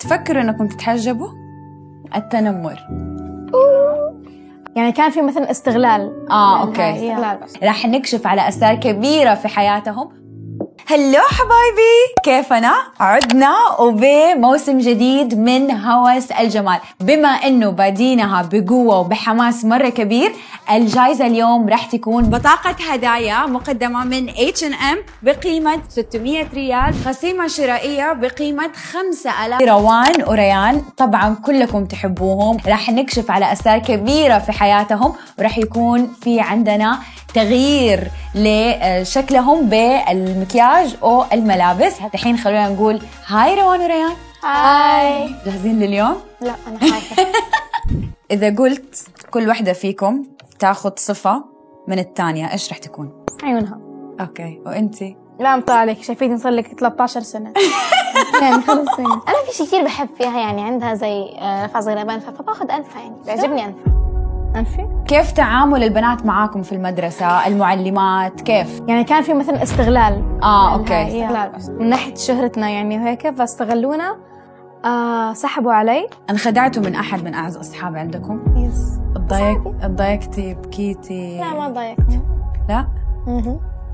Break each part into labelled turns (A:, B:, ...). A: تفكروا انكم تتحجبوا التنمر
B: يعني كان في مثلا استغلال
A: اه
B: يعني
A: اوكي
B: استغلال بس
A: راح نكشف على اسرار كبيره في حياتهم هلو حبايبي كيفنا عدنا وبموسم جديد من هوس الجمال بما انه بادينها بقوه وبحماس مره كبير الجائزه اليوم راح تكون بطاقه هدايا مقدمه من اتش ان ام بقيمه 600 ريال خصيمه شرائيه بقيمه 5000 روان وريان طبعا كلكم تحبوهم راح نكشف على اسرار كبيره في حياتهم وراح يكون في عندنا تغيير لشكلهم بالمكياج والملابس الحين خلونا نقول هاي روان وريان
B: هاي
A: جاهزين لليوم
B: لا انا خايفه
A: اذا قلت كل وحده فيكم تاخذ صفه من الثانيه ايش راح تكون
B: عيونها
A: اوكي وانتي
B: لا مطلع عليك شايفيني صار لك 13 سنه يعني خلص سنه
C: انا في شيء كثير بحب فيها يعني عندها زي آه، رفع زي لبان فباخذ انفه يعني بيعجبني انفه
B: انفي
A: كيف تعامل البنات معاكم في المدرسه المعلمات كيف
B: يعني كان في مثلا
C: آه،
B: استغلال
A: اه
B: يعني
A: اوكي
B: استغلال بس من ناحيه شهرتنا يعني وهيك فاستغلونا آه سحبوا علي
A: انخدعتوا من احد من اعز اصحابي عندكم
B: يس
A: اتضايق اتضايقتي بكيتي
C: لا ما ضايقت
A: لا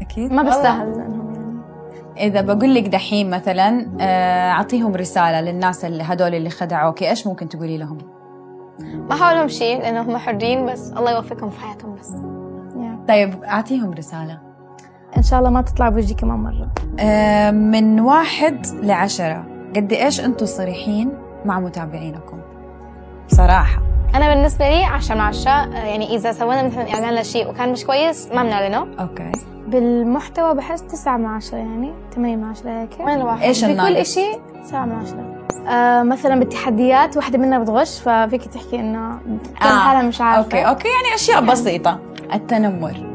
A: اكيد
B: ما بستاهل لانهم يعني
A: اذا بقول لك دحين مثلا آه، اعطيهم رساله للناس اللي هذول اللي خدعوك ايش ممكن تقولي لهم
C: ما حولهم شيء لانه هم حرين بس الله يوفقهم في حياتهم بس
B: يعني، يا.
A: طيب اعطيهم رساله
B: ان شاء الله ما تطلع بوجهي كمان مره
A: آه، من واحد لعشرة قد ايش انتم صريحين مع متابعينكم بصراحه
C: انا بالنسبه لي 10 من 10 آه، يعني اذا سوينا مثلا اعلان لشيء وكان مش كويس ما بنعلنه
A: اوكي
B: بالمحتوى بحس تسعة من عشرة يعني ثمانية من عشرة هيك
C: وين الواحد
A: ايش
B: بكل
A: الناقص
B: إشي سبعة من عشرة آه مثلا بالتحديات واحدة منا بتغش ففيك تحكي انه كل
A: آه،
B: حالها مش عارفة
A: اوكي اوكي يعني اشياء بسيطه التنمر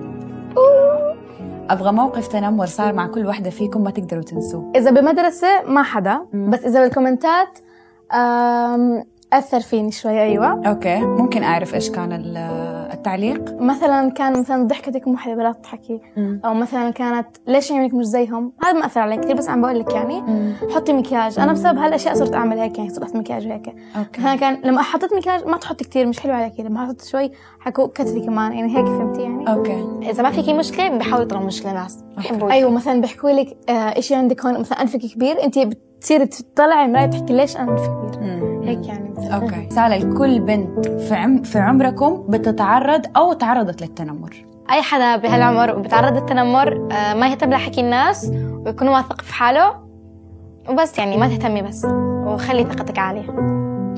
A: ابغى موقف تنمر صار مع كل واحده فيكم ما تقدروا تنسوه
B: إذا بمدرسة ما حدا
A: مم.
B: بس إذا بالكومنتات آم، أثر فيني شوي أيوة
A: اوكي ممكن اعرف ايش كان ال- التعليق
B: مثلا كان مثلا ضحكتك مو حلوة لا تضحكي أو مثلا كانت ليش عيونك مش زيهم هذا ما أثر علي كثير بس عم بقول لك يعني حطي مكياج أنا بسبب هالأشياء صرت أعمل هيك يعني صرت أحط مكياج وهيك
A: اوكي
B: مثلا كان لما حطيت مكياج ما تحطي كثير مش حلو عليكي لما حطيت شوي حكوا كتفي كمان يعني هيك فهمتي يعني
A: اوكي
C: اذا ما فيكي مشكله بحاولوا يطلعوا مشكله ناس بحبوا
B: ايوه مثلا بيحكوا لك آه شيء عندك هون مثلا انفك كبير انت بتصيري تطلعي المرايه تحكي ليش انفي كبير هيك يعني مثلا
A: اوكي رساله لكل بنت في عم في عمركم بتتعرض او تعرضت للتنمر
C: اي حدا بهالعمر بتعرض للتنمر آه، ما يهتم لحكي الناس ويكون واثق في حاله وبس يعني ما تهتمي بس وخلي ثقتك عاليه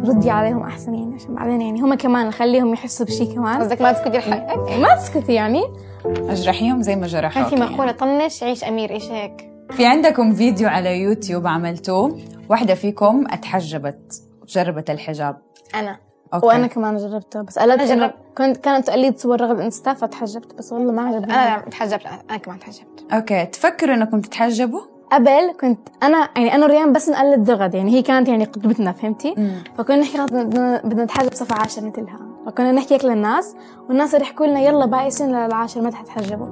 B: ردي عليهم احسن يعني عشان بعدين يعني هم كمان خليهم يحسوا بشيء كمان
C: قصدك ما تفقدي حقك
B: ما تسكتي يعني
A: اجرحيهم زي ما
C: كان
A: جرحوك
C: في مقوله طنش عيش امير ايش هيك
A: في عندكم فيديو على يوتيوب عملتوه واحده فيكم اتحجبت جربت الحجاب
C: انا
A: اوكي
B: وانا كمان جربته بس قلت
C: أنا جربت.
B: كنت كانت تقليد صور رغد انستا فتحجبت بس والله ما عجبني
C: انا تحجبت انا كمان تحجبت
A: اوكي تفكروا انكم تتحجبوا
B: قبل كنت انا يعني انا وريان بس نقلد رغد يعني هي كانت يعني قدوتنا فهمتي
A: مم.
B: فكنا نحكي خلاص بدنا بدنا نتحجب صف عاشر مثلها فكنا نحكي هيك للناس والناس اللي يحكوا لنا يلا بائسين للعاشر ما تتحجبوا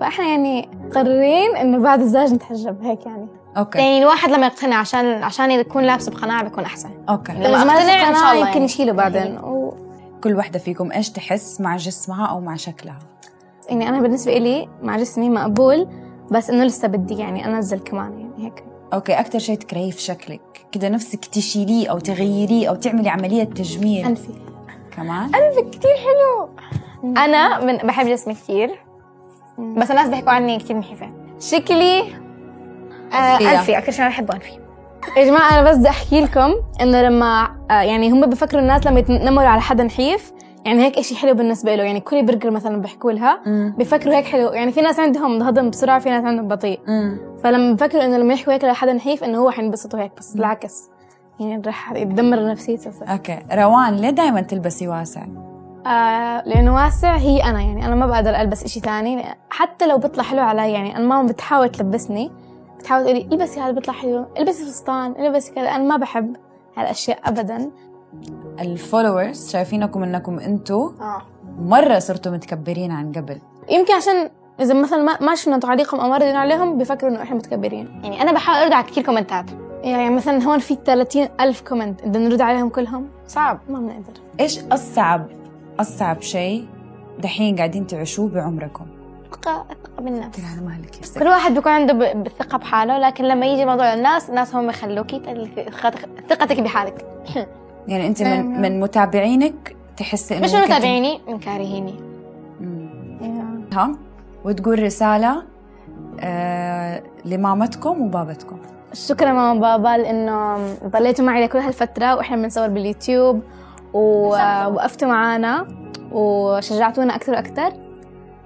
B: فاحنا يعني قررين انه بعد الزواج نتحجب هيك يعني
A: اوكي
C: يعني الواحد لما يقتنع عشان عشان يكون لابس بقناع بيكون احسن
A: اوكي
C: لما
B: إذا ما
C: أقتنع، إن
B: اقتنع
C: شاء الله
B: يمكن
C: يعني.
B: يشيله بعدين و...
A: كل واحده فيكم ايش تحس مع جسمها او مع شكلها
B: يعني انا بالنسبه لي مع جسمي مقبول بس انه لسه بدي يعني انزل كمان يعني هيك
A: اوكي اكثر شيء تكرهيه في شكلك كده نفسك تشيليه او تغيريه او تعملي عمليه تجميل
B: انفي
A: كمان
C: انفك كثير حلو انا من بحب جسمي كثير بس الناس بيحكوا عني كثير نحيفه شكلي آه
A: أنفية.
C: انفي اكثر شيء أنا بحبه انفي
B: يا جماعة أنا بس بدي أحكي لكم إنه لما آه، يعني هم بفكروا الناس لما يتنمروا على حدا نحيف يعني هيك إشي حلو بالنسبة له يعني كل برجر مثلا بحكوا لها
A: مم.
B: بفكروا هيك حلو يعني في ناس عندهم هضم بسرعة في ناس عندهم بطيء
A: مم.
B: فلما بفكروا إنه لما يحكوا هيك لحدا نحيف إنه هو حينبسط وهيك بس بالعكس يعني راح يدمر نفسيته
A: اوكي روان ليه دائما تلبسي واسع
B: آه لأنه واسع هي أنا يعني أنا ما بقدر ألبس إشي ثاني حتى لو بيطلع حلو علي يعني أنا ماما بتحاول تلبسني بتحاول تقولي البسي هذا بيطلع حلو البسي فستان البسي كذا أنا ما بحب هالأشياء أبدا
A: الفولورز شايفينكم انكم انتوا
C: اه
B: آه.
A: مره صرتوا متكبرين عن قبل
B: يمكن عشان إذا مثلا ما ما شفنا تعليقهم أو ما ردينا عليهم بيفكروا إنه إحنا متكبرين
C: يعني انا بحاول ارد على كثير كومنتات
B: يعني مثلا هون في 30 ألف كومنت بدنا نرد عليهم كلهم
C: صعب
B: ما بنقدر
A: ايش اصعب اصعب شيء دحين قاعدين تعيشوه بعمركم
C: ثقة الثقة بالنفس
A: انا ما لك
C: كل واحد بيكون عنده ب- بالثقة بحاله لكن لما يجي موضوع الناس الناس هم يخلوكي تل- ثقتك- ثقتك بحالك
A: يعني انت من
B: فاهمة.
A: من متابعينك تحسي انه
C: مش من
A: ممكن تن-
C: متابعيني من كارهيني
A: مم.
B: يعني
A: ها وتقول رساله آه لمامتكم وبابتكم
B: شكرا ماما بابا لأنه ضليتوا معي لكل هالفترة وإحنا بنصور باليوتيوب ووقفتوا معانا وشجعتونا أكثر وأكثر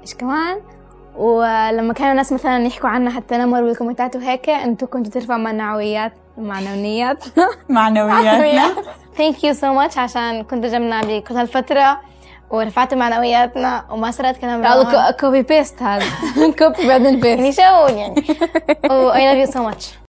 B: إيش كمان ولما كانوا الناس مثلا يحكوا عنا حتى نمر بالكومنتات وهيك انتم كنتوا ترفعوا معنويات معنويات
A: معنويات
C: ثانك يو سو ماتش عشان كنتوا جنبنا بكل هالفترة ورفعتوا معنوياتنا وما سرقت كلام
B: كوبي بيست هذا كوبي بعدين بيست
C: يعني شلون يعني و يعني. I love you so much